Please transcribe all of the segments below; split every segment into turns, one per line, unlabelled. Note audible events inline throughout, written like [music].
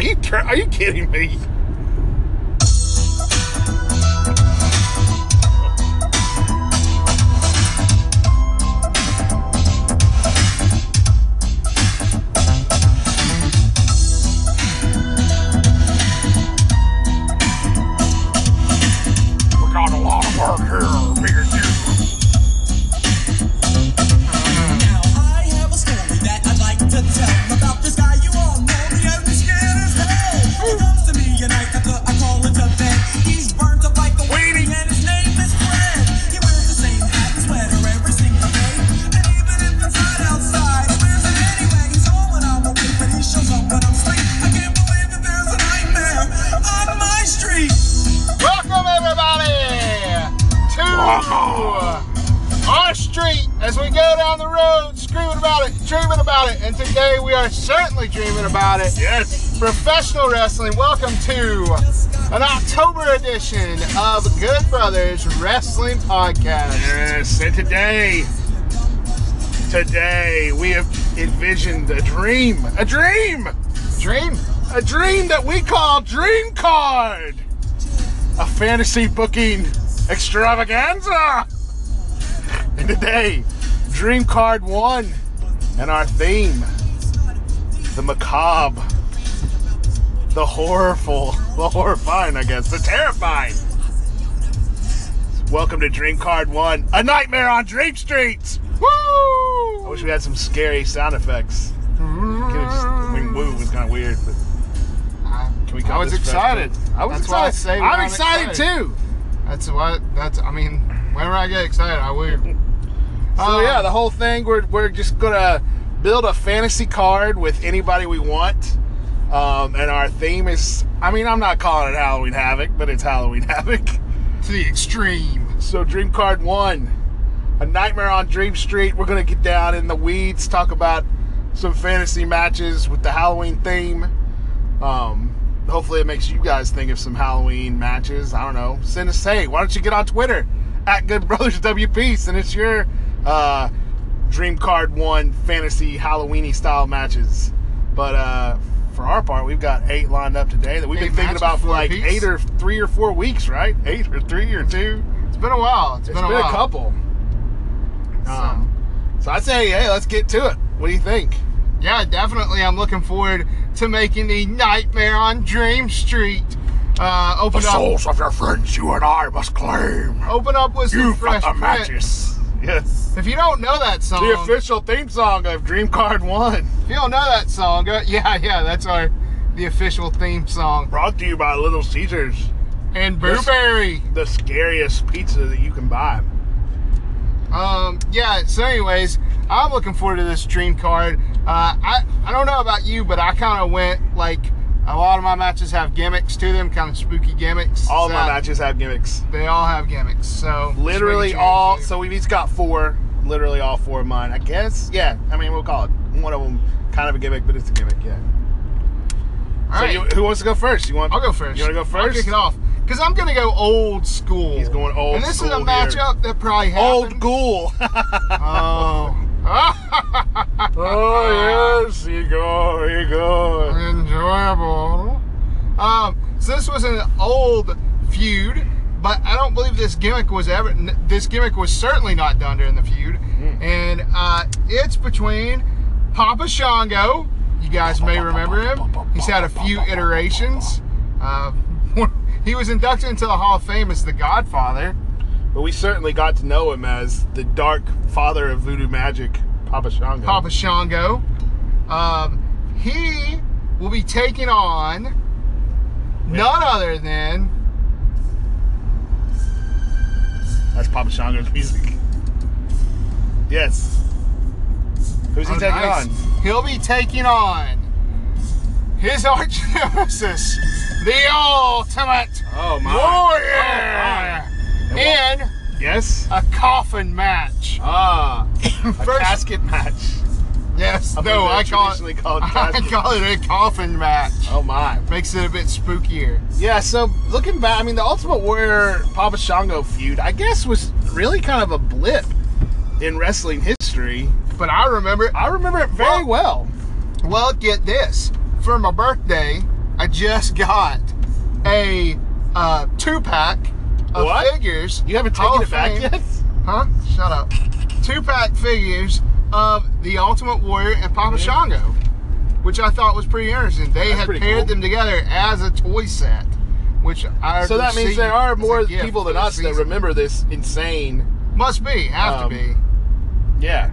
you ki- are you kidding me? We got a lot of work here, me and you.
Now I have a story that I'd like to tell about this guy you all know. The owner's scared as hell. He comes to me at night after I call him to bed. He's burnt up like a weenie and his name is Fred. He wears the same hat and sweater every single day. And even if it's hot outside, he wears it anyway. He's home when I'm awake, but he shows up when I'm asleep. I can't believe that there's a nightmare on my street.
Welcome everybody to our street as we go down the road screaming about it, dreaming about it, and today we are certainly dreaming about it.
Yes.
Professional wrestling, welcome to an October edition of Good Brothers Wrestling Podcast.
Yes, and today, today we have envisioned a dream, a dream,
Dream?
a dream that we call Dream Card, a fantasy booking extravaganza. And today, Dream Card One, and our theme, the macabre, the horrible, [laughs] the horrifying, I guess, the terrifying. Welcome to Dream Card One, a nightmare on Dream Streets. I
Woo!
wish we had some scary sound effects. Can we just- I mean, woo was kind of weird, but can we?
I
call
was
this
excited.
festival?
I
That's
was excited.
why I say we're
I'm not
excited,
excited.
too.
That's what, that's, I mean, whenever I get excited, I will.
So
Um,
yeah, the whole thing. We're we're just gonna build a fantasy card with anybody we want, um, and our theme is. I mean, I'm not calling it Halloween Havoc, but it's Halloween [laughs] Havoc.
To the extreme.
So Dream Card One, a nightmare on Dream Street. We're gonna get down in the weeds, talk about some fantasy matches with the Halloween theme. Um, hopefully, it makes you guys think of some Halloween matches. I don't know. Send us hey, why don't you get on Twitter at Good Brothers [laughs] WP? Send us your uh, Dream Card One fantasy Halloweeny style matches. But uh, for our part, we've got eight lined up today that we've
Eight
been thinking
matches
about for
for a
like
piece?
eight or three or four weeks, right? Eight or three or two.
It's been a while.
It's
been, a, while.
couple.
So-
Um, so I say, hey, let's get to it. What do you think?
Yeah, definitely. I'm looking forward to making the Nightmare on Dream Street. Uh, open up,
of your friends, you and I must claim.
open up with some fresh Prince.
Yes.
If you don't know that song,
The official theme song of Dream Card One,
if you don't know that song, go, [laughs] yeah, yeah, that's our the official theme song.
brought to you by Little Caesars,
And
Yes.
Blueberry.
the scariest pizza that you can buy.
Um, yeah. So, anyways, I'm looking forward to this dream card. Uh, I I don't know about you, but I kind of went like a lot of my matches have gimmicks to them, kind of spooky gimmicks.
All my
That-
matches have gimmicks.
They all have gimmicks. So
Literally
just making sure
all.
you-
So we've each got four. Literally all four of mine. I guess. Yeah. I mean, we'll call it one of them kind of a gimmick, but it's a gimmick. Yeah.
all
so
right,
you, who wants to go first? You want?
I'll go first.
You want to go
I'll
first?
kick it off because I'm gonna go old school.
He's going old
And this is a
school
matchup that probably
Old
happened.
ghoul. [laughs]
Oh.
oh yes, you go, you go.
[laughs] enjoyable. Um, so this was an old feud, but I don't believe this gimmick was ever. n- This gimmick was certainly not done during the feud,
Hmm.
and uh, it's between Papa Shango. You guys may remember him. He's had a few iterations. Uh, [laughs] he was inducted into the Hall of Fame as the Godfather.
But we certainly got to know him as the dark father of voodoo magic, Papa Shango.
Papa Shango. Um, he will be taking on none other than
That's Papa Shango's music. Yes. Who's he
Oh,
taking
nice.
on?
He'll be taking on his arch [laughs] nemesis, the ultimate
Oh
warrior,
Oh, my.
in
Yes.
a coffin match.
Ah, a
First-
casket match.
Yes,
I believe
no,
they're
I call
traditionally
it.
[laughs]
[laughs]
called
I
caskets.
call it a coffin match.
Oh my.
Makes it a bit spookier.
Yeah, so looking back, I mean, the Ultimate Warrior Papa Shango feud, I guess, was really kind of a blip in wrestling history.
But I remember.
I remember it very well.
Well, get this. For my birthday, I just got a uh, two pack of
What?
figures.
You haven't
Hall
taken
of
it back
Fame-
yet?
Huh? Shut up. Two pack figures of the Ultimate Warrior and Papa Shango, which I thought was pretty interesting. They
That's
had
pretty
paired
cool.
them together as a toy set, which I
So that means
received
there are
as a
more
gift
people
for
than
the
us that
season.
remember this insane.
Must be, have
Um,
to be.
Yeah.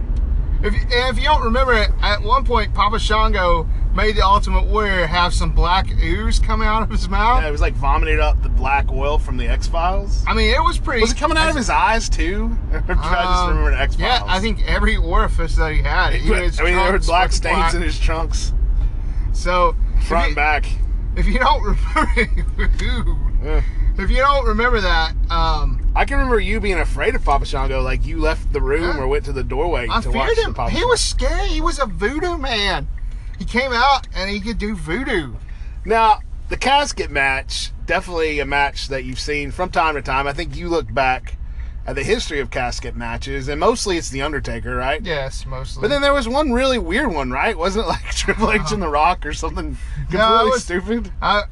If you, if you don't remember it, at one point Papa Shango made the Ultimate Warrior have some black ooze come out of his mouth.
yeah it was like vomited up the black oil from the X Files.
I mean, it was pretty.
Was it coming out of his eyes too? [laughs] Or did I just
Um,
remember X Files?
Yeah, I
[laughs]
think every orifice that he had.
But,
even his
I mean, there were
trunks
black
looked
stains
black.
in his trunks,
So
front
if
and
you,
back.
if you don't [laughs] remember, Dude.
Yeah.
if you don't remember that, um,
I can remember you being afraid of Papa Shango. Like you left the room
Yeah.
or went to the doorway
I
to watch
feared
the
him.
Papa
He
Shango.
was scary. He was a voodoo man. He came out and he could do voodoo.
Now, the casket match, definitely a match that you've seen from time to time. I think you look back at the history of casket matches, and mostly it's The Undertaker, right?
Yes, mostly.
But then there was one really weird one, right? Wasn't it like [laughs] Triple H and The Rock or something completely
Uh-huh. No, it was-
stupid?
I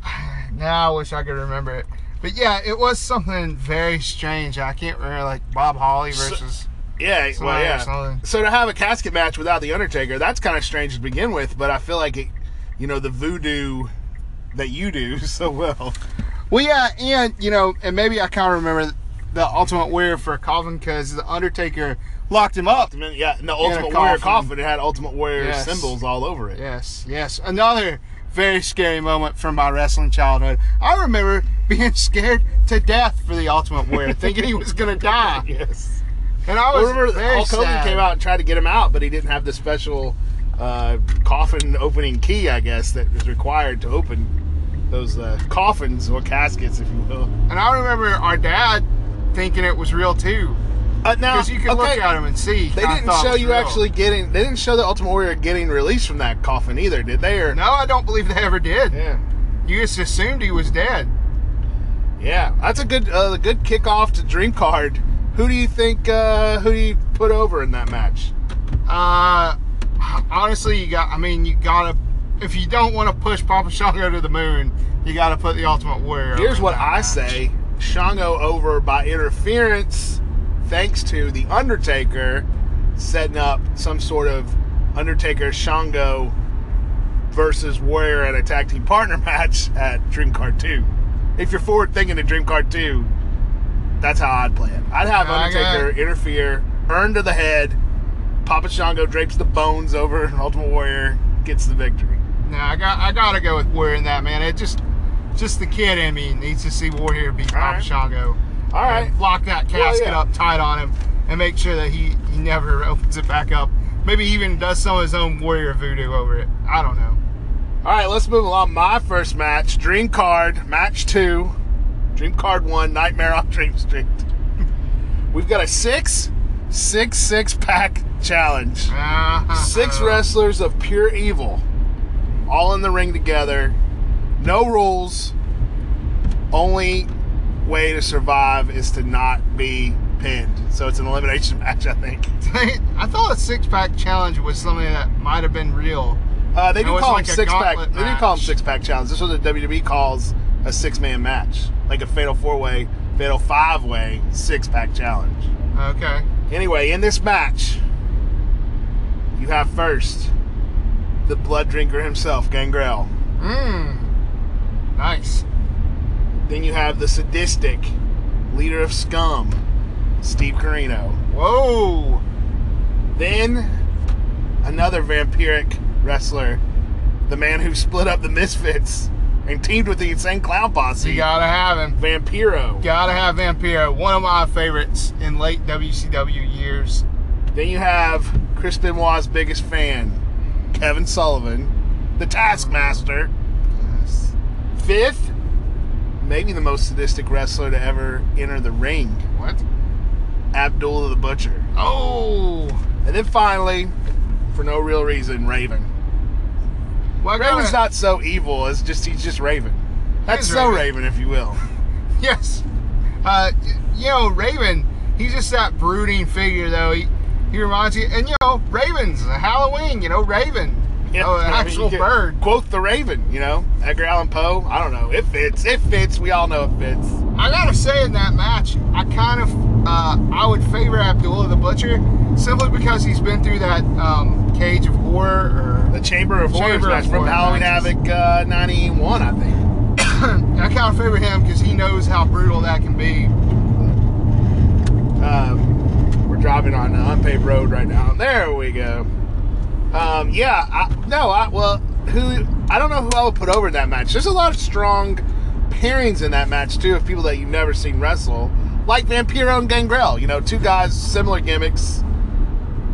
now I wish I could remember it. But yeah, it was something very strange. I can't remember like Bob Holly
So-
versus
Yeah, well,
Somebody or
yeah.
something.
So to have a casket match without The Undertaker, that's kind of strange to begin with, but I feel like it, you know, the voodoo that you do [laughs] so well.
Well, yeah, and you know, and maybe I kind of remember the Ultimate Warrior for Calvin because the Undertaker locked him up.
I mean, yeah, and the Ultimate
coffin.
Warrior coffin, it had Ultimate Warrior
Yes.
symbols all over [laughs] it.
Yes, yes, another very scary moment from my wrestling childhood. I remember being [laughs] scared to death for the Ultimate
[laughs]
Warrior, thinking he was gonna die,
Yes.
and I
I
Ah. was
remember
very
Hulk Hogan
sad.
came out and tried to get him out, but he didn't have the special uh, coffin opening key, I guess, that is required to open those uh, coffins or caskets, if you will.
and I remember our dad thinking it was real too,
Uh, now,
because you could look at him and see.
they
I
didn't
thought it
show
was
you
real.
actually getting. They didn't show the Ultimate Warrior getting released from that coffin either, did they? Or
No, I don't believe they ever did.
Yeah.
You just assumed he was dead.
Yeah, that's a good uh, a good kickoff to Dream Card. Who do you think? Uh, who do you put over in that match?
Uh, honestly, you got. I mean, you gotta. If you don't want to push Papa Shango to the moon, you gotta put the Ultimate Warrior.
Here's
over
what
that
I
match.
say Shango over by interference, thanks to The Undertaker setting up some sort of Undertaker Shango versus Warrior and a tag team partner [laughs] match at Dream Card 2. If you're forward thinking to Dream Card 2, that's how I'd play it. I'd have
I got-
Undertaker interfere, earn to the head, Papa Shango drapes the bones over, and Ultimate Warrior gets the victory.
No, I got. I gotta go with Warrior in that man. It just, just the kid in me needs to see Warrior beat Papa
right.
Shango.
All right.
And lock that
Well,
casket
yeah.
up tight on him, and make sure that he he never opens it back up. Maybe even does some of his own Warrior voodoo over it. I don't know.
All right, let's move along. My first match, Dream Card, match two, Dream Card one, Nightmare on Dream Street. [laughs] We've got a six, six, six pack challenge. [laughs] Six
Uh-huh. [laughs]
wrestlers of pure evil, all in the ring together, no rules. Only way to survive is to not be pinned. So it's an elimination [laughs] match, I think.
I thought a six pack challenge was something that might have been real.
Uh, they
It
do
was
call
like
them
a
six pack.
gauntlet
They do call them
match.
six pack challenge. This is what the WWE calls a six man match, like a fatal four way, fatal five way, six pack challenge.
Okay.
Anyway, in this match, you have first the blood drinker himself, Gangrel.
Mmm. Nice.
Then you have the sadistic leader of Scum, Steve Carino.
Whoa.
Then another vampiric wrestler, the man who split up the Misfits and teamed with the Insane Clown Posse.
You gotta have him.
Vampiro.
Gotta have Vampiro. One of my favorites in late WCW years.
Then you have Chris Benoit's biggest fan, Kevin Sullivan, the Taskmaster.
Yes.
Fifth, maybe the most sadistic wrestler to ever enter the ring,
What?
Abdullah the Butcher.
Oh.
And then finally, for no real reason, Raven.
Well, I
Raven's
gotta-
not so evil, it's just he's just Raven. That's
is
so
Raven.
Raven, if you
[laughs]
will.
Yes. Uh, y- you know, Raven, he's just that brooding figure, though. He, he reminds you, and you know, Raven's Halloween, you know, Raven.
You know,
Oh,
I
an
mean,
actual
you could
bird.
Quote the Raven, you know, Edgar Allan Poe. I don't know. It fits. It fits. We all know it fits.
I gotta say, in that match, I kind of uh, I would favor Abdullah the Butcher simply because he's been through that um, cage of horror.
The Chamber of Horrors
Chamber of
match from
Horrors
Halloween
matches.
Havoc uh, 91, I think.
Or I kind of favor him because he knows how brutal that can be.
Um, we're driving on an unpaved road right now. There we go. Um, yeah, I, no, I, well, who, I don't know who I would put over in that match. There's a lot of strong pairings in that match, too, of people that you've never seen wrestle, like Vampiro and Gangrel. You know, two guys, similar gimmicks.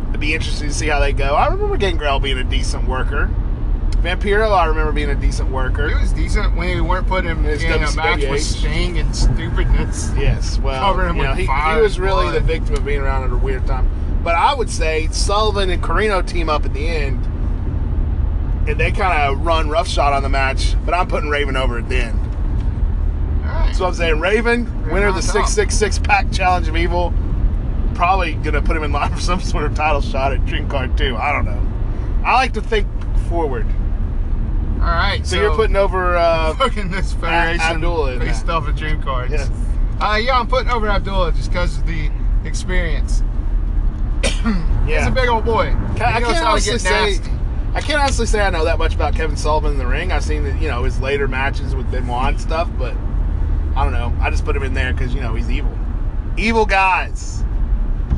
It'd be interesting to see how they go. I remember Gangrel being a decent worker. Vampiro, I remember being a decent worker.
He was decent when we weren't putting him
His
in a match
WCWH.
with Sting and stupidness.
Yes, well,
Covering him
you know,
with
he,
fire
he was
and
really
blood.
the victim of being around at a weird time. But I would say Sullivan and Carino team up at the end, and they kind of run roughshod on the match. But I'm putting Raven over at the end.
All right.
So I'm saying Raven, winner of the
on top.
six six six pack challenge of evil, probably gonna put him in line [laughs] for some sort of title shot at Dream Card too. I don't know. I like to think forward.
All right.
So, you're putting over. Uh,
[laughs] fucking this federation
Abdullah in
based
that.
off of dream cards.
Yes.
Uh, yeah, I'm putting over Abdullah just because of the experience. He's
yeah.
a big old boy. He
Ca- I
knows
can't
how to
honestly
get
say
nasty.
I can't honestly say I know that much about Kevin Sullivan in the ring. I've seen that you know his later matches with Benoit and stuff, but I don't know. I just put him in there because you know he's evil. Evil guys.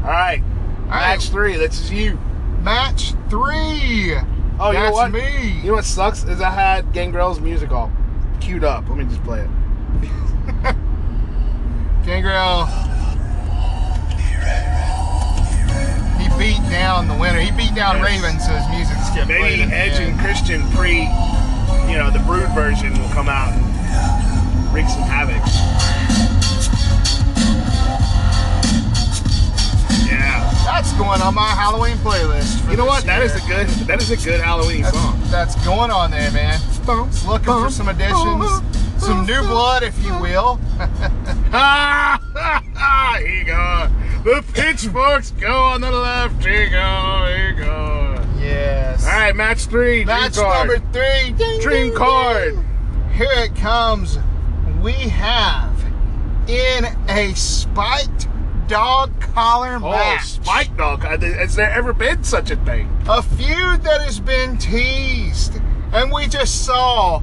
All right, match
right.
three. That's just you.
Match three.
Oh, you
That's
know what?
me.
You know what sucks is I had Gangrel's music all queued up. Let me just play it.
Gangrel. He beat down the winner. He beat down
Yes.
Raven, so his music's getting played
Maybe
at the
Edge
end.
and Christian pre, you know, the Brood version will come out and wreak some havoc. Yeah.
That's going on my Halloween playlist. for
You know
this
what? That
year.
is a good. That is a good Halloween song.
That's, that's going on there, man. Just looking for some additions, some new blood, if you will.
[laughs]
[laughs]
here you go. The pitchforks go on the left. Here you go. Here you go.
Yes.
All right, match three. Dream
Match
card.
number three. Ding,
Dream
ding,
card.
ding. Here it comes. We have in a spiked dog collar
Oh,
match.
Spike Dog. Has there ever been such a thing?
a feud that has been teased and we just saw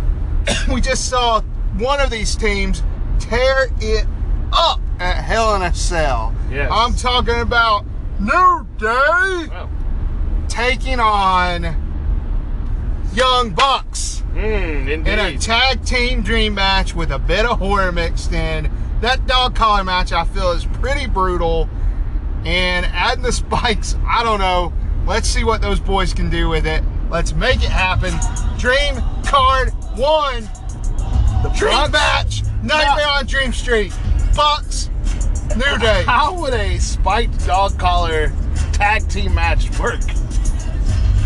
[coughs] we just saw one of these teams tear it up at hell in a cell
Yes.
i'm talking about new day
Well,
taking on young bucks
mm,
in a
indeed.
tag team dream match with a bit of horror mixed in that dog collar match i feel is pretty brutal and adding the [laughs] spikes, I don't know. Let's see what those boys can do with it. Let's make it happen. Dream card one. The dream
Bucks-
match. Nightmare on Dream Street. Bucks.
[laughs]
New Day.
How would a spiked dog collar tag team match work?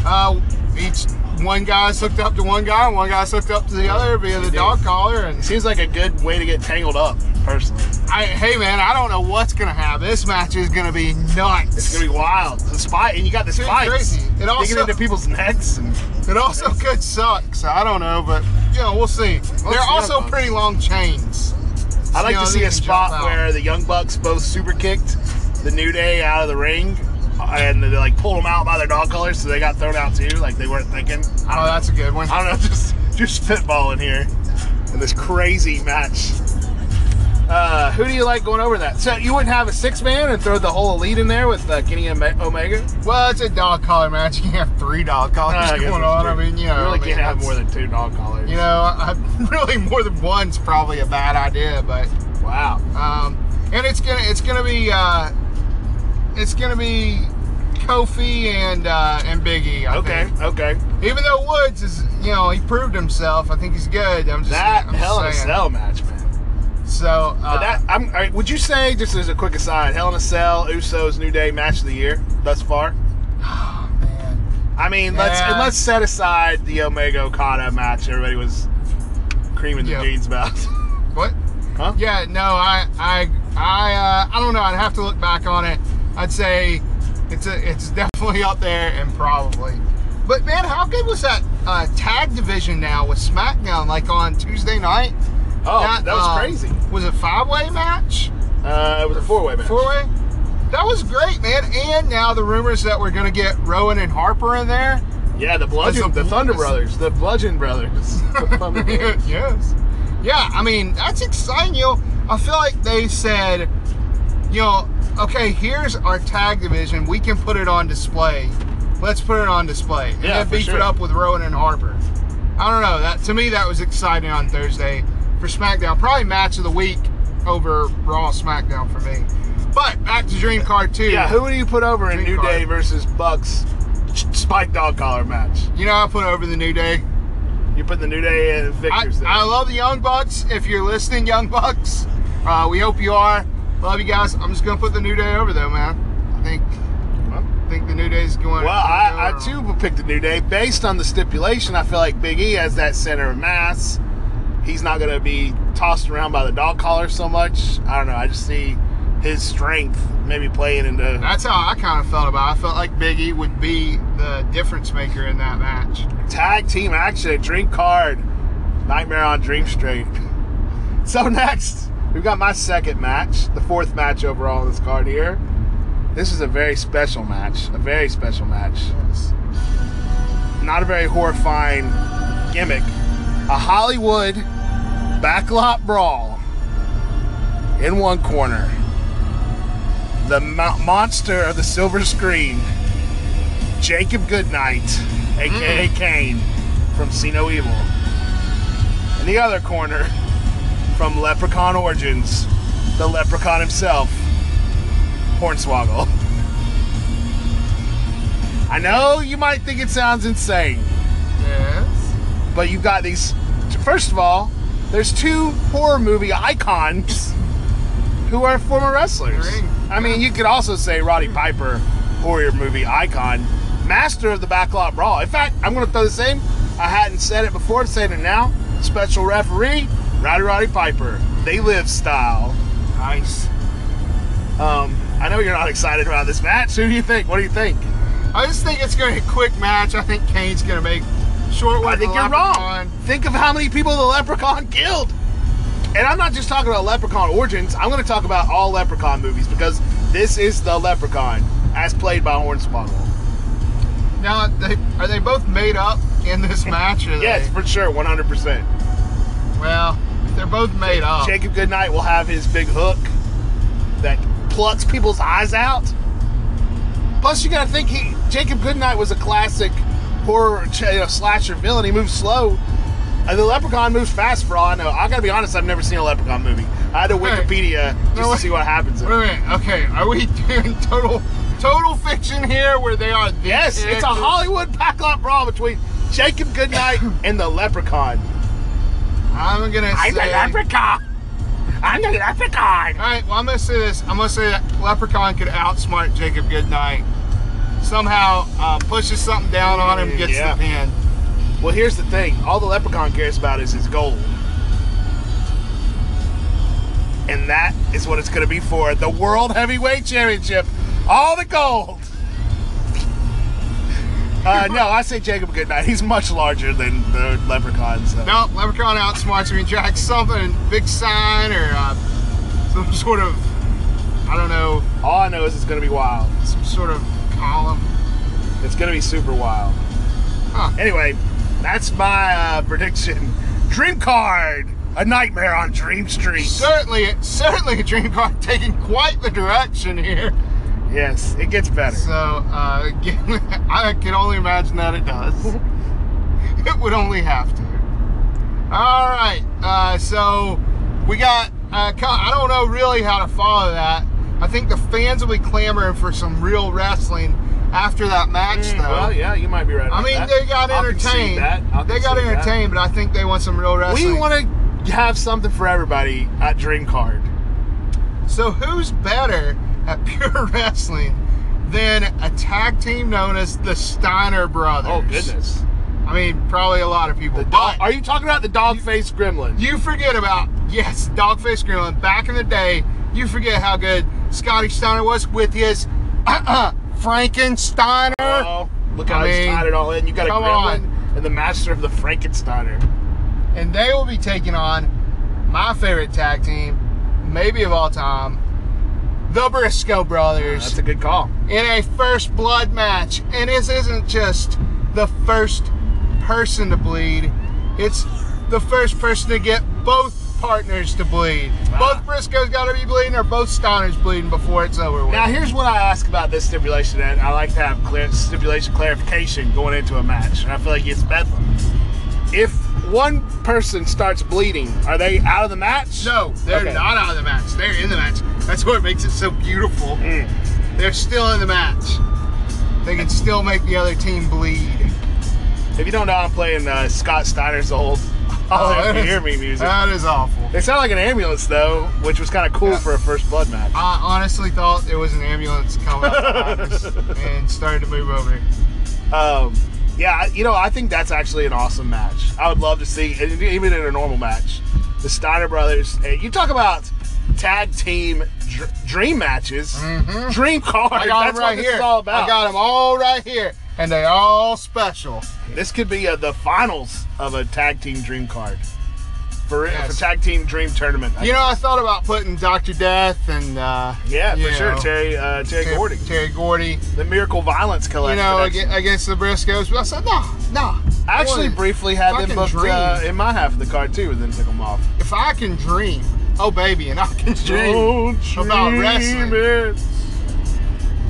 Uh, each one guy's hooked up to one guy, one guy's hooked up to the other via the dog collar. And
Seems like a good way to get tangled up, personally.
I, hey man, I don't know what's gonna happen. This match is gonna be nuts.
It's gonna be wild. The spike, and you got the
It's
spikes
crazy. It
digging
also-
into people's necks. And,
It also could suck, so I don't know, but you know, we'll see. They're
see
also
how it
pretty long chains.
I like
Yeah,
to
they
see a
can jump
spot
out.
where the Young Bucks both super kicked the New Day out of the ring, uh, and they like pulled them out by their dog collar, so they got thrown out too. Like they weren't thinking.
Oh, that's a good one.
I don't know, [laughs] just just spitballing here in this crazy match. Uh, who do you like going over that? So you wouldn't have a six man and throw the whole elite in there with uh, Kenny and Ma- Omega?
Well, it's a dog collar match. [laughs] You can have three dog collars
I guess
going
that's
on.
true.
I mean, you know,
really
I mean,
can't have
that's-
more than two dog collars.
You know, [laughs] I, really more than one's probably a bad idea, but
wow.
um, and it's gonna it's gonna be uh, it's gonna be Kofi and uh, and Biggie. I
Okay,
think.
okay.
Even though Woods is, you know, he proved himself. I think he's good. I'm just
That
I'm just
Hell in a
saying.
Cell match, man.
So
But
uh,
that I'm. All right, would you say just as a quick aside, Hell in a Cell, Usos, New Day match of the year thus far?
man.
I mean, let's
Yeah.
and let's set aside the Omega Okada match. Everybody was creaming the
Yeah.
jeans about. [laughs]
What?
Huh?
Yeah, no, I, I, I, uh, I don't know. I'd have to look back on it. I'd say it's a, it's definitely up there and probably. But man, how good was that uh, tag division now with SmackDown? Like on Tuesday night. um,
Oh, that was crazy.
Was it five way match?
Uh, it was a four-way match.
Four way. That was great, man. And now the rumors that we're gonna get Rowan and Harper in there.
Yeah, the Bludgeon,
That's a-
the Thunder Brothers, the Bludgeon Brothers. [laughs] The Thunder Brothers.
[laughs] yes. Yeah, I mean, that's exciting, you know. I feel like they said, you know, okay, here's our tag division. We can put it on display. Let's put it on display. And
Yeah,
then
for
beef
sure.
it up with Rowan and Harper. I don't know. That to me that was exciting on Thursday for SmackDown. Probably match of the week over Raw SmackDown for me. But back to Dream Card 2.
yeah, who do you put over in
Dream
New
card.
Day versus Bucks Spike Dog Collar match?
you know I put over the New Day.
You put the New Day and
I,
Victors there.
I love the Young Bucks. If you're listening, Young Bucks, uh, we hope you are. Love you guys. I'm just gonna put the New Day over though, man. I think I think the New Day's going.
well, I,
E.
I too would pick the New Day based on the stipulation. I feel like Big E has that center of mass. He's not going to be tossed around by the dog collar so much. I don't know. I just see his strength maybe playing into
That's how I kind of felt about. it. I felt like Biggie would be the difference maker in that match.
tag team action. at Dream card, Nightmare on Dream Street. [laughs] So next, we've got my second match, the fourth match overall on this card here. This is a very special match. A very special match. not a very horrifying gimmick. A Hollywood backlot brawl in one corner. The mo- monster of the silver screen, Jacob Goodnight, aka Kane from See No Evil. In the other corner, from Leprechaun Origins, the Leprechaun himself, Hornswoggle. I know you might think it sounds insane,
Yes.
but you got these. First of all, there's two horror movie icons who are former wrestlers.
Ring.
I mean, you could also say Roddy Piper, horror movie icon, master of the backlot brawl. In fact, I'm going to throw the same. I hadn't said it before, I'm saying it now. Special referee, Roddy Roddy Piper. They live style.
Nice.
Um, I know you're not excited about this match. Who do you think? What do you think?
I just think it's gonna be a quick match. I think Kane's gonna make short work.
I think
of
you're
Leprechaun.
wrong. Think of how many people the leprechaun killed. And I'm not just talking about leprechaun origins, I'm going to talk about all leprechaun movies because this is the leprechaun as played by Hornswoggle.
Now, they, are they both made up
[laughs]
in this match? Or
Yes, for sure, 100%.
They, well, they're both made up.
Jacob Goodnight will have his big hook that plucks people's eyes out. Plus, you got to think he Jacob Goodnight was a classic horror ch- you know, slasher villain. He moves slow. And the leprechaun moves fast for all I know. I gotta be honest, I've never seen a leprechaun movie. I had to
Hey.
Wikipedia just
No,
to
wait.
see what happens. in it.
Wait a minute. Okay, are we [laughs] doing total total fiction here, where they are? The
Yes, it's a
characters?
Hollywood backlot brawl between Jacob [coughs] Goodnight and the leprechaun.
I'm gonna say.
leprechaun. I'm the leprechaun.
All right. Well, I'm gonna say this. I'm gonna say that Leprechaun could outsmart Jacob Goodnight. Somehow uh, pushes something down on him, gets
Yeah.
the pin.
Well, here's the thing. All the leprechaun cares about is his gold. And that is what it's going to be for the World Heavyweight Championship. All the gold. [laughs] Uh, no, I say Jacob Goodnight. He's much larger than the leprechaun. So.
No, Leprechaun outsmarts him. He drags something, big sign or uh, some sort of, I don't know,
All I know is it's going to be wild.
some sort of column.
It's gonna be super wild.
Huh.
Anyway, that's my uh, prediction. Dream card, a nightmare on Dream Street.
Certainly, certainly, Dream Car [laughs] taking quite the direction here.
yes, it gets better.
So uh, [laughs] again, I can only imagine that it does. [laughs] it would only have to. All right. Uh, so we got. Uh, co- I don't know really how to follow that. I think the fans will be clamoring for some real wrestling after that match,
Mm,
though.
well, yeah, you might be right.
I
about
mean,
that.
they got
I'll concede
entertained.
that. I'll
They got
concede that.
entertained, but I think they want some real wrestling.
We want to have something for everybody at Dream Card.
So who's better at [laughs] pure wrestling than a tag team known as the Steiner Brothers?
Oh goodness!
I mean, probably a lot of people.
The
but
dog, are you talking about the dog faced gremlin?
you forget about yes, Dogface Gremlin. Back in the day, you forget how good Scotty Steiner was with his uh-uh, Frankensteiner.
Oh, Look how
I
he's
mean,
tied it all in. You got a
come
gremlin
on.
and the master of the Frankensteiner.
and they will be taking on my favorite tag team, maybe of all time, the Briscoe Brothers,
That's a good call.
in a first blood match. And this isn't just the first person to bleed; it's the first person to get both partners to bleed.
Ah.
Both Briscoes got to be bleeding, or both Steiners bleeding before it's over with.
Now, here's what I ask about this stipulation, and I like to have clear, stipulation clarification going into a match, and I feel like it's bedlam. If one person starts bleeding, are they out of the match?
No, they're
Okay.
not out of the match. They're in the match. That's what makes it so beautiful.
Mm.
They're still in the match. They can still make the other team bleed.
If you don't know, I'm playing uh, Scott Steiner's
[laughs]
old
Oh,
"Holler If You Oh, Hear Me" music.
That is awful.
They sound like an ambulance though, which was kind of cool
Uh-huh. Yeah.
for a first blood match.
I honestly thought there was an ambulance coming up
[laughs]
behind us and started to move over.
Um, yeah, I- you know, I think that's actually an awesome match. I would love to see, and even in a normal match, the Steiner brothers. eh, You talk about tag team dr- dream matches, dream card.
Mm-hmm. I got
that's
them right
what this
here.
is all about.
I got them all right here, and they all special.
This could be uh, the finals of a tag team dream card for,
Yes.
for tag team dream tournament.
You know, I thought about putting Doctor Death and uh,
yeah, for
you
sure.
know,
Terry, uh, Terry
Ter-
Gordy,
Terry Gordy.
the Miracle Violence
You
collection.
know, aga- against the Briscoes, but I said, nah, nah.
uh, I actually
Boy,
briefly had them
fucking
booked
dream.
uh, in my half of the card too, and then took them off.
if I can dream, oh baby, and I can dream,
Don't
about
dream
wrestling.
it.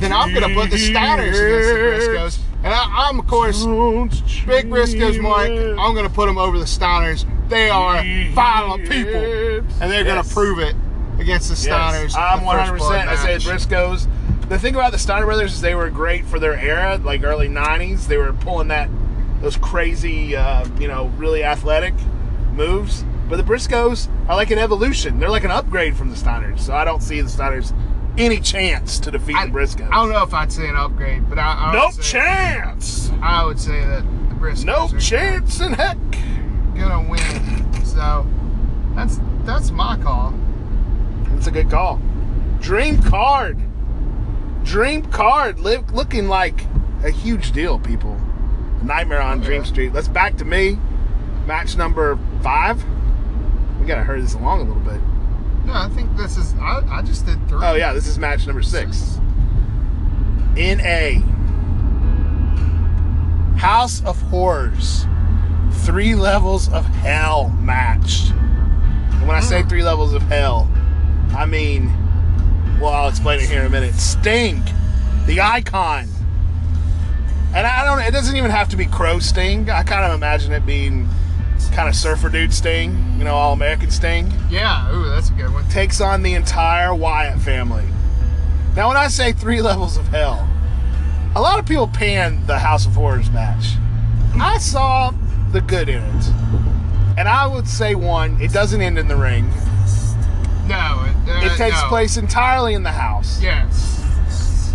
then I'm gonna put the Steiners against the Briscoes, and I, I'm of course
Don't
big Briscoes mark.
dream
I'm gonna put them over the Steiners. They are
it.
violent people, and they're
Yes.
gonna prove it against the Steiners.
Yes.
in
I'm
the first
100. percent I
blood
say it's
match.
Briscoes. The thing about the Steiner brothers is they were great for their era, like early '90s. They were pulling that those crazy, uh, you know, really athletic moves. But the Briscoes are like an evolution. They're like an upgrade from the Steiners. So I don't see the Steiners any chance to defeat
I,
the Briscoes.
I don't know if I'd say an upgrade, but I, I
no
would say,
chance.
I would say that the Briscoes
No
are
chance in heck.
gonna win. So that's that's my call.
That's a good call. Dream card. Dream card. Live looking like a huge deal, people. Nightmare on Dream
yeah.
Street. Let's back to me. Match number five. We gotta hurry this along a little bit.
No, I think this is. I, I just did three.
Oh yeah, this is match number six. In a House of Horrors, three levels of hell match. And when I say three levels of hell, I mean, well, I'll explain it here in a minute. Sting, the icon. And I don't, it doesn't even have to be Crow Sting. I kind of imagine it being kind of surfer dude Sting, you know, all American Sting
Yeah. Ooh, that's a good one.
takes on the entire Wyatt family. Now, when I say three [laughs] levels of hell, a lot of people panned the House of Horrors match. I saw the good in it. And I would say one, it doesn't end in the ring.
No, it, uh,
It takes
no.
place entirely in the house.
Yes.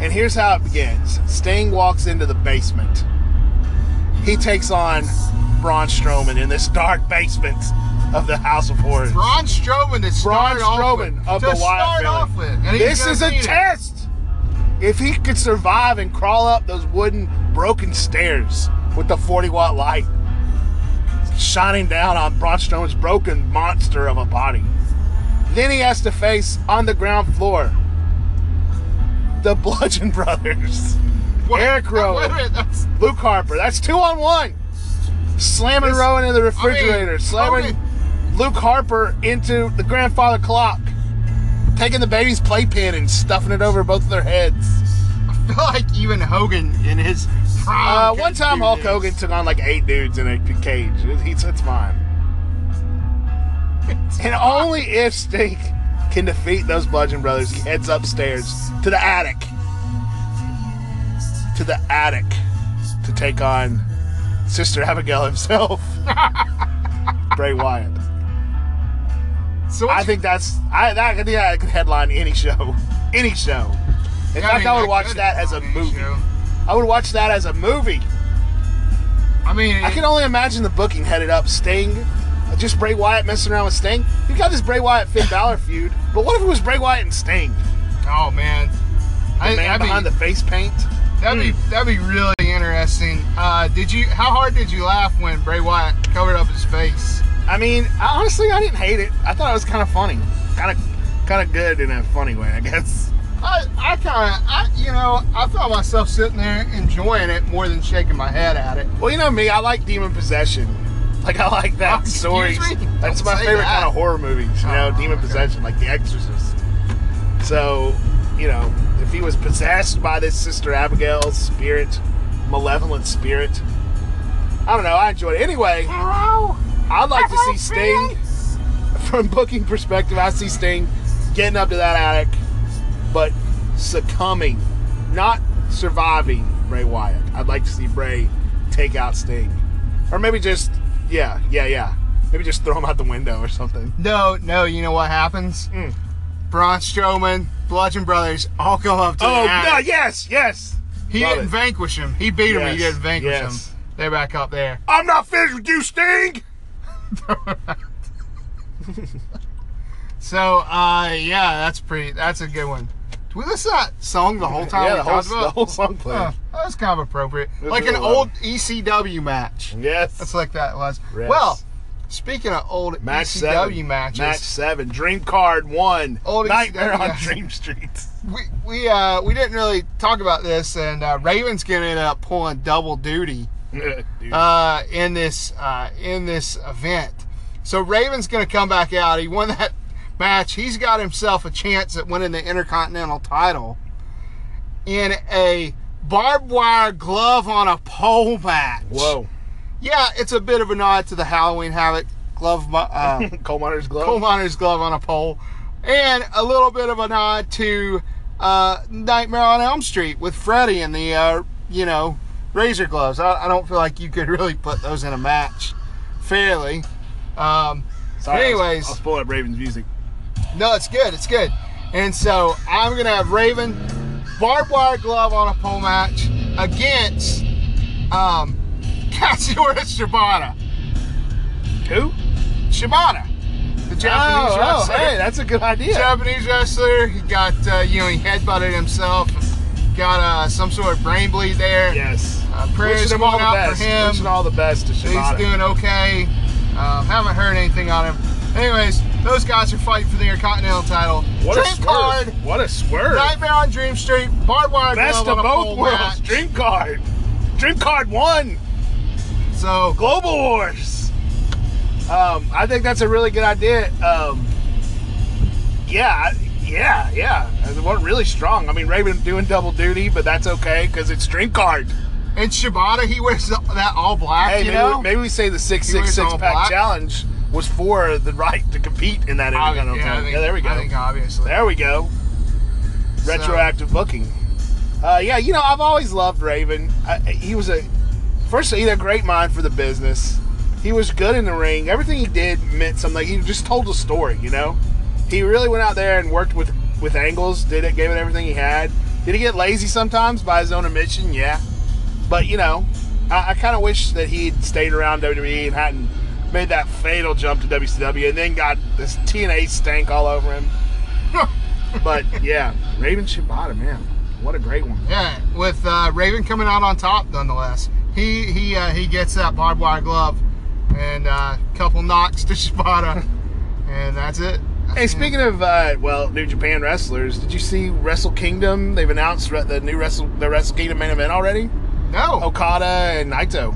And here's how it begins Sting walks into the basement. He takes on Braun Strowman in this dark basement of the House of Horrors.
Braun Strowman to
Braun
start off with.
Strowman of
to
the Wyatt
start
family.
off with. And he's
this
gonna
is a
beat it.
test. If he could survive and crawl up those wooden broken stairs with the 40 watt light shining down on Braun Strowman's broken monster of a body, then he has to face on the ground floor the [laughs] Bludgeon Brothers,
What?
Eric Rowan.
[laughs] Wait a minute, that's-
Luke Harper. That's two on one. Slamming
This-
Rowan into the
I mean,
refrigerator, slamming
okay.
Luke Harper into the grandfather clock, taking the baby's playpen and stuffing it over both of their heads.
I feel like even Hogan in his prime.
Uh, one
couldn't
time
do
Hulk
this.
Hogan took on like eight dudes in a cage. It- It's, it's
[laughs]
fine. And only if Stink can defeat those Bludgeon Brothers, he heads upstairs to the attic. To the attic to take on Sister Abigail himself, [laughs] Bray Wyatt.
So
I think that's I that could yeah, that could headline any show, any show. In
Yeah, I
fact, I,
mean,
would
that
watch
could
that as a
headline any
movie.
show.
I would watch that as a movie.
I mean,
I can only imagine the booking headed up Sting, just Bray Wyatt messing around with Sting. You got this Bray Wyatt Finn Balor feud, but what if it was Bray Wyatt and Sting?
oh man,
The
I,
man
that'd
behind
be,
the face paint.
that'd be that'd be really interesting. Uh, did you? How hard did you laugh when Bray Wyatt covered up his face?
I mean, I, honestly, I didn't hate it. I thought it was kind of funny, kind of, kind of good in a funny way, I guess.
I, I kind of, I, you know, I found myself sitting there enjoying it more than shaking my head at it.
Well, you know me, I like Demon Possession. Like I like that
[laughs] Excuse
story.
me?
That's
Don't
my
say
favorite
that.
kind of horror movies. You know,
Oh,
Demon
okay.
Possession, like The Exorcist. So, you know, if he was possessed by this Sister Abigail's spirit, malevolent spirit, I don't know. I enjoyed it anyway.
Hello.
I'd like to see Sting [laughs] from booking perspective. I see Sting getting up to that attic, but succumbing, not surviving Bray Wyatt. I'd like to see Bray take out Sting, or maybe just yeah, yeah, yeah. Maybe just throw him out the window or something.
No, no. You know what happens?
Mm.
Braun Strowman, Bludgeon Brothers, all go up to
Oh
the attic.
no! Yes, yes.
He
Love
didn't
it.
vanquish him. He beat him.
Yes,
He didn't vanquish
yes.
him. They're back up there.
I'm not finished with you, Sting.
So, uh, yeah, that's pretty. That's a good one. Do we listen to that song the whole time?
yeah,
we
the whole,
talked
[laughs]
about?
the whole song played.
Huh, that was kind of appropriate,
It
like an
really was.
old ECW match.
Yes.
That's like that was.
Yes.
Well, speaking of old
Match
ECW
seven.
matches,
Match seven. Dream card one.
Old
Nightmare
ECW,
on
yeah.
Dream Street. [laughs]
we we uh, we didn't really talk about this, and uh, Raven's gonna end up pulling double duty.
Dude.
uh, in this uh, in this event. So Raven's going to come back out. He won that [laughs] match. He's got himself a chance at winning the Intercontinental title in a barbed wire glove on a pole match.
Whoa.
Yeah, it's a bit of a nod to the Halloween Havoc glove,
[laughs]
mu- uh,
Coal miner's glove.
coal miner's glove on a pole, and a little bit of a nod to uh, Nightmare on Elm Street with Freddy and the uh, you know razor gloves. I, I don't feel like you could [laughs] really put those in a match fairly. Um,
Sorry, I'll,
anyways,
I'll spoil up Raven's music.
no, it's good. It's good. And so I'm gonna have Raven barbed wire glove on a pole match against um, [laughs] Cassius Shibata.
Who?
Shibata, the Japanese
oh,
wrestler.
hey, that's a good idea.
Japanese wrestler. He got uh, you know he headbutted himself. Got uh, some sort of brain bleed there.
Yes.
Uh, prayers
Wishing him all
going
the
out
best.
for him.
Wishing all the best to
He's
Shibata.
doing okay. Um, haven't heard anything on him. Anyways, those guys are fighting for the Intercontinental title.
what a
Dream
swerve.
card.
What a swerve.
Nightmare on Dream Street. Barbed wire
best
glove on
of
a pole
both worlds.
match.
Dream card. Dream card one.
So
Global Wars. Um, I think that's a really good idea. Um, yeah, I- yeah, yeah. It was really strong. I mean, Raven doing double duty, but that's okay because it's Dream card.
and Shibata, he wears the- that all black.
Hey,
you
maybe,
know.
we, maybe we say the six
You
six
raise
six
all
pack
black?
challenge was for the right to compete in that
Obvi-
Intercontinental.
yeah, I
title.
think-
yeah, there we go.
I think obviously.
there we go.
So-
Retroactive booking. Uh, yeah, you know I've always loved Raven. I, he was a first he had a great mind for the business. He was good in the ring. Everything he did meant something. He just told a story, you know. He really went out there and worked with with angles. Did it, gave it everything he had. Did he get lazy sometimes by his own admission? Yeah, but you know, I, I kind of wish that he'd stayed around WWE and hadn't made that fatal jump to WCW and then got this TNA stank all over him. but yeah, Raven Shibata, man, what a great one.
Yeah, with uh, Raven coming out on top, nonetheless. He he uh, he gets that barbed wire glove and a uh, couple knocks [laughs] to Shibata, and that's it.
Hey, speaking of uh, well, New Japan wrestlers, did you see Wrestle Kingdom? They've announced re- the new Wrestle the Wrestle Kingdom main event already.
no,
Okada and Naito.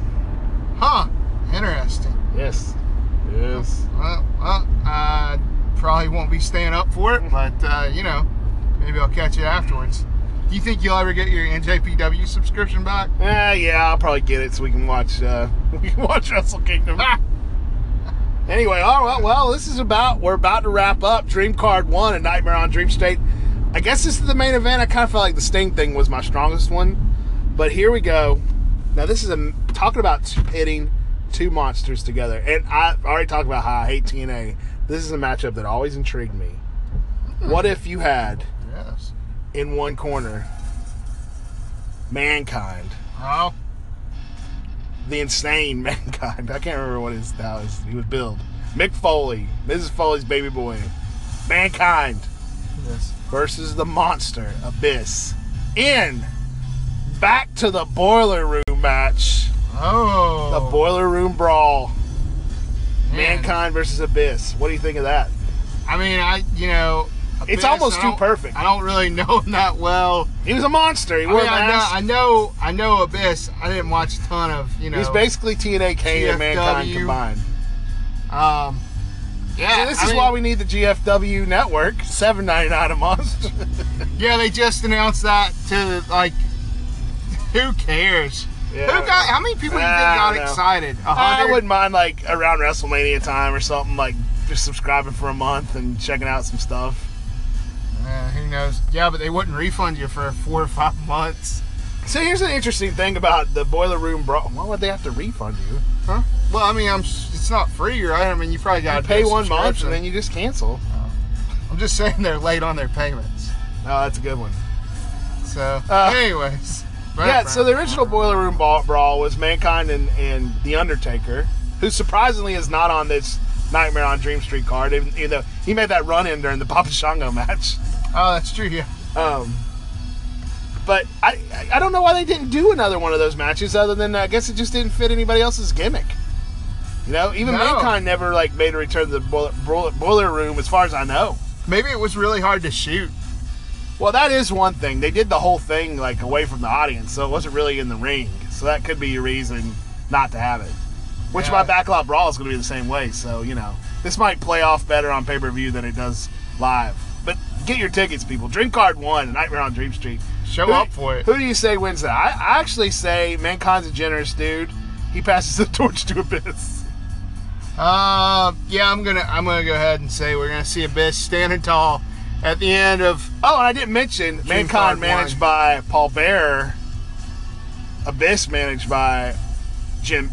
huh? Interesting.
Yes. Yes.
Well, well, I probably won't be staying up for it,
Mm-hmm.
but uh, you know, maybe I'll catch it afterwards. Do you think you'll ever get your NJPW subscription back?
Uh, yeah, I'll probably get it so we can watch uh, [laughs] we can watch Wrestle Kingdom. [laughs] anyway, all right, well, this is about we're about to wrap up Dream Card One and Nightmare on Dream State. I guess this is the main event. I kind of felt like the Sting thing was my strongest one, but here we go. Now this is a talking about t- pitting two monsters together, and I already talked about how I hate TNA. This is a matchup that always intrigued me. What if you had
Yes.
in one corner mankind?
Oh,
the insane [laughs] mankind. I can't remember what his how his- he was billed. Mick Foley, Mrs. Foley's baby boy, mankind
yes.
versus the monster abyss in back to the boiler room match,
Oh.
the Boiler Room Brawl,
man.
Mankind versus Abyss. What do you think of that?
I mean, I you know.
It's
Abyss,
almost
I
too
don't-
perfect.
I don't really [laughs] know him that well.
He was a monster. He
I
wore
mean,
a
I know,
mask.
I know, I know Abyss. I didn't watch a ton of you know.
He's basically TNA, Kane, and Mankind
GFW.
combined.
Um, yeah.
See, this
I
is
mean,
why we need the GFW network. Seven ninety nine a month.
Yeah, they just announced that to like. [laughs] Who cares?
Yeah, I
who
don't
got?
know.
How many people do you
I
think got
don't know.
excited? A
I
hundred?
wouldn't mind like around WrestleMania time or something like just subscribing for a month and checking out some stuff.
Uh, who knows? Yeah, but they wouldn't refund you for four or five [laughs] months.
So here's an interesting thing about the Boiler Room Brawl. Why would they have to refund you?
Huh? Well, I mean, I'm. s- It's not free, right? I mean, you probably got
You
to
pay one month and then you just cancel.
I'm just saying they're late on their payments.
Oh, that's a good one.
So,
Uh,
anyways.
Yeah, so the original Boiler Room Brawl, brawl was Mankind and, and The Undertaker, who surprisingly is not on this Nightmare on Dream Street card, even even though he made that run in during the [laughs] Papa Shango match.
Oh, that's true. Yeah.
Um, but I, I- I don't know why they didn't do another one of those matches, other than I guess it just didn't fit anybody else's gimmick. You know, even
No.
Mankind never like made a return to the boiler, boiler, boiler room, as far as I know.
Maybe it was really hard to shoot.
Well, that is one thing. They did the whole thing like away from the audience, so it wasn't really in the ring. So that could be a reason not to have it. Which my
Yeah.
backlot brawl is going to be the same way. So you know, this might play off better on pay per view than it does live. But get your tickets, people. Dream Card One, Nightmare on Dream Street.
Show
Who-
up for it.
Who do you say wins that? I, I actually say Mankind's a generous dude. He passes the [laughs] torch to Abyss.
Uh, yeah, I'm gonna I'm gonna go ahead and say we're gonna see Abyss standing tall at the end of
Oh, and I didn't mention
Card
Mankind managed
won.
by Paul Bearer, Abyss managed by Jim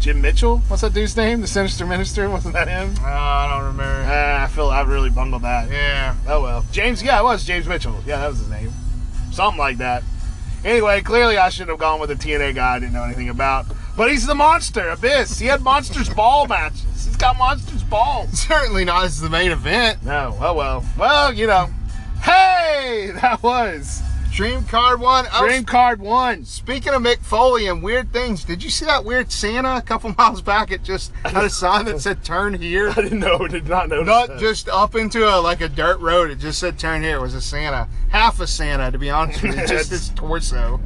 Jim Mitchell. What's that dude's name? The Sinister Minister. [laughs] Wasn't that him?
uh, I don't remember.
Ah, I feel I really bungled that.
Yeah. [laughs]
Oh well, James. Yeah, it was James Mitchell. Yeah, that was his name. Something like that. Anyway, clearly I should have gone with a TNA guy I didn't know anything about. But he's the monster, Abyss. He had monsters ball matches. He's got monsters balls.
Certainly not as the main event.
No. Oh well. Well, you know. Hey, [laughs] that was
Dream Card One. Oh,
Dream Card One.
Speaking of Mick Foley and weird things, did you see that weird Santa a couple [laughs] miles back? It just had a sign that said "Turn
[laughs]
here."
I didn't know. Did not notice.
Not
that.
just up into a like a dirt road. It just said "Turn here." It was a Santa, half a Santa, to be honest
[laughs]
with you, just his torso.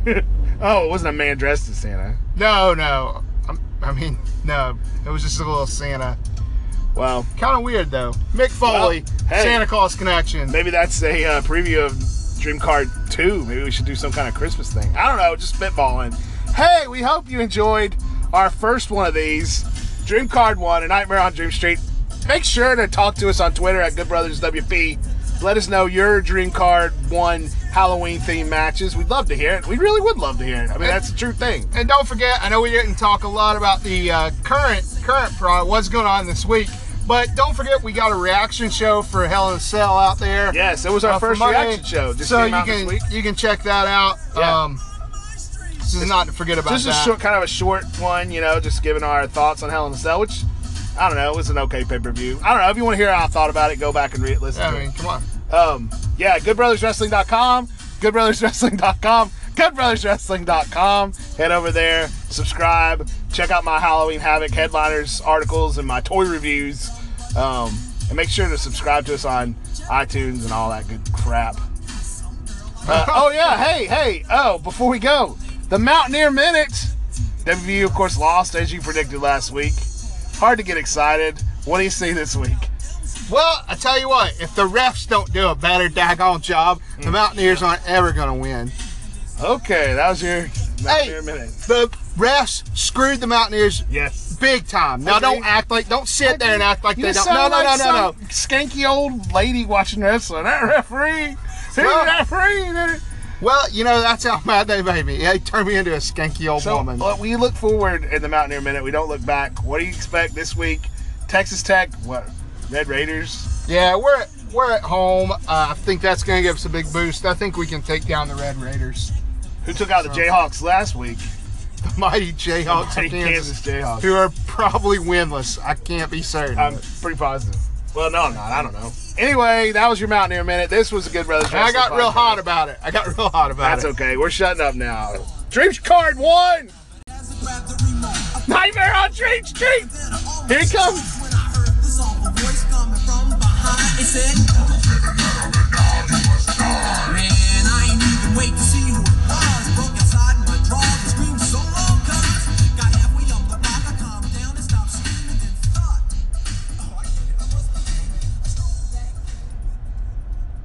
Oh, it wasn't a man dressed as Santa.
No, no. I'm, I mean, no. It was just a little Santa.
Well,
Kind of weird though. Mick Foley,
Well, hey.
Santa Claus connection.
maybe that's a uh, preview of Dream Card 2. Maybe we should do some kind of Christmas thing. I don't know, just spitballing. Hey, we hope you enjoyed our first one of these Dream Card 1 A Nightmare on Dream Street. Make sure to talk to us on Twitter at Good Brothers WP. Let us know your Dream Card 1 Halloween themed matches. We'd love to hear it. We really would love to hear it. I mean, that's the true thing.
And don't forget, I know we didn't talk a lot about the uh, current current pro what's going on this week, but don't forget we got a reaction show for Hell in a Cell out there.
Yes, it was our
uh, for
first
Monday.
reaction show. Just
so
came
you
out
can
this week.
you can check that out.
Yeah.
Um, this is not to forget about
Just a
that.
short, kind of a short one, you know, just giving our thoughts on Hell in a Cell, which I don't know, it was an okay pay per view. I don't know if you want to hear how I thought about it, go back and read it, listen
I
to
mean,
it.
come on.
Um, yeah, goodbrotherswrestling.com, goodbrotherswrestling.com, goodbrotherswrestling.com. Head over there, subscribe, check out my Halloween Havoc headliners articles and my toy reviews, um, and make sure to subscribe to us on iTunes and all that good crap. Uh, oh yeah, hey, hey. Oh, before we go, the Mountaineer Minute. WVU, of course, lost as you predicted last week. Hard to get excited. What do you see this week?
Well, I tell you what, if the refs don't do a better daggone job,
Mm.
the Mountaineers aren't ever going to win.
Okay, that was your Mountaineer
Hey,
Minute.
the refs screwed the Mountaineers
Yes.
big time. Now
Agree.
don't act like, don't sit there and act like
You
they don't.
sound
No, no, no,
like
no, no.
some Skanky old lady watching wrestling. That referee. He
Well-
referee. that-
Well, you know that's how [laughs] mad they made me. They turned me into a skanky old
So
woman.
uh, we look forward in the Mountaineer Minute. We don't look back. What do you expect this week? Texas Tech. What? Red Raiders.
yeah, we're we're at home. Uh, I think that's going to give us a big boost. I think we can take down the Red Raiders, [laughs]
Who took out the Jayhawks last week?
the mighty Jayhawks
Hey,
of Kansas,
Kansas Jayhawks.
who are probably winless. I can't be certain.
I'm pretty positive. Well, no, I'm not. I don't know. Anyway, that was your Mountaineer Minute. This was a good brother.
and I got real hot about it. I got [laughs] real hot about
That's
it.
okay. We're shutting up now. Dreams card one.
Nightmare on Dream Street. Here it comes.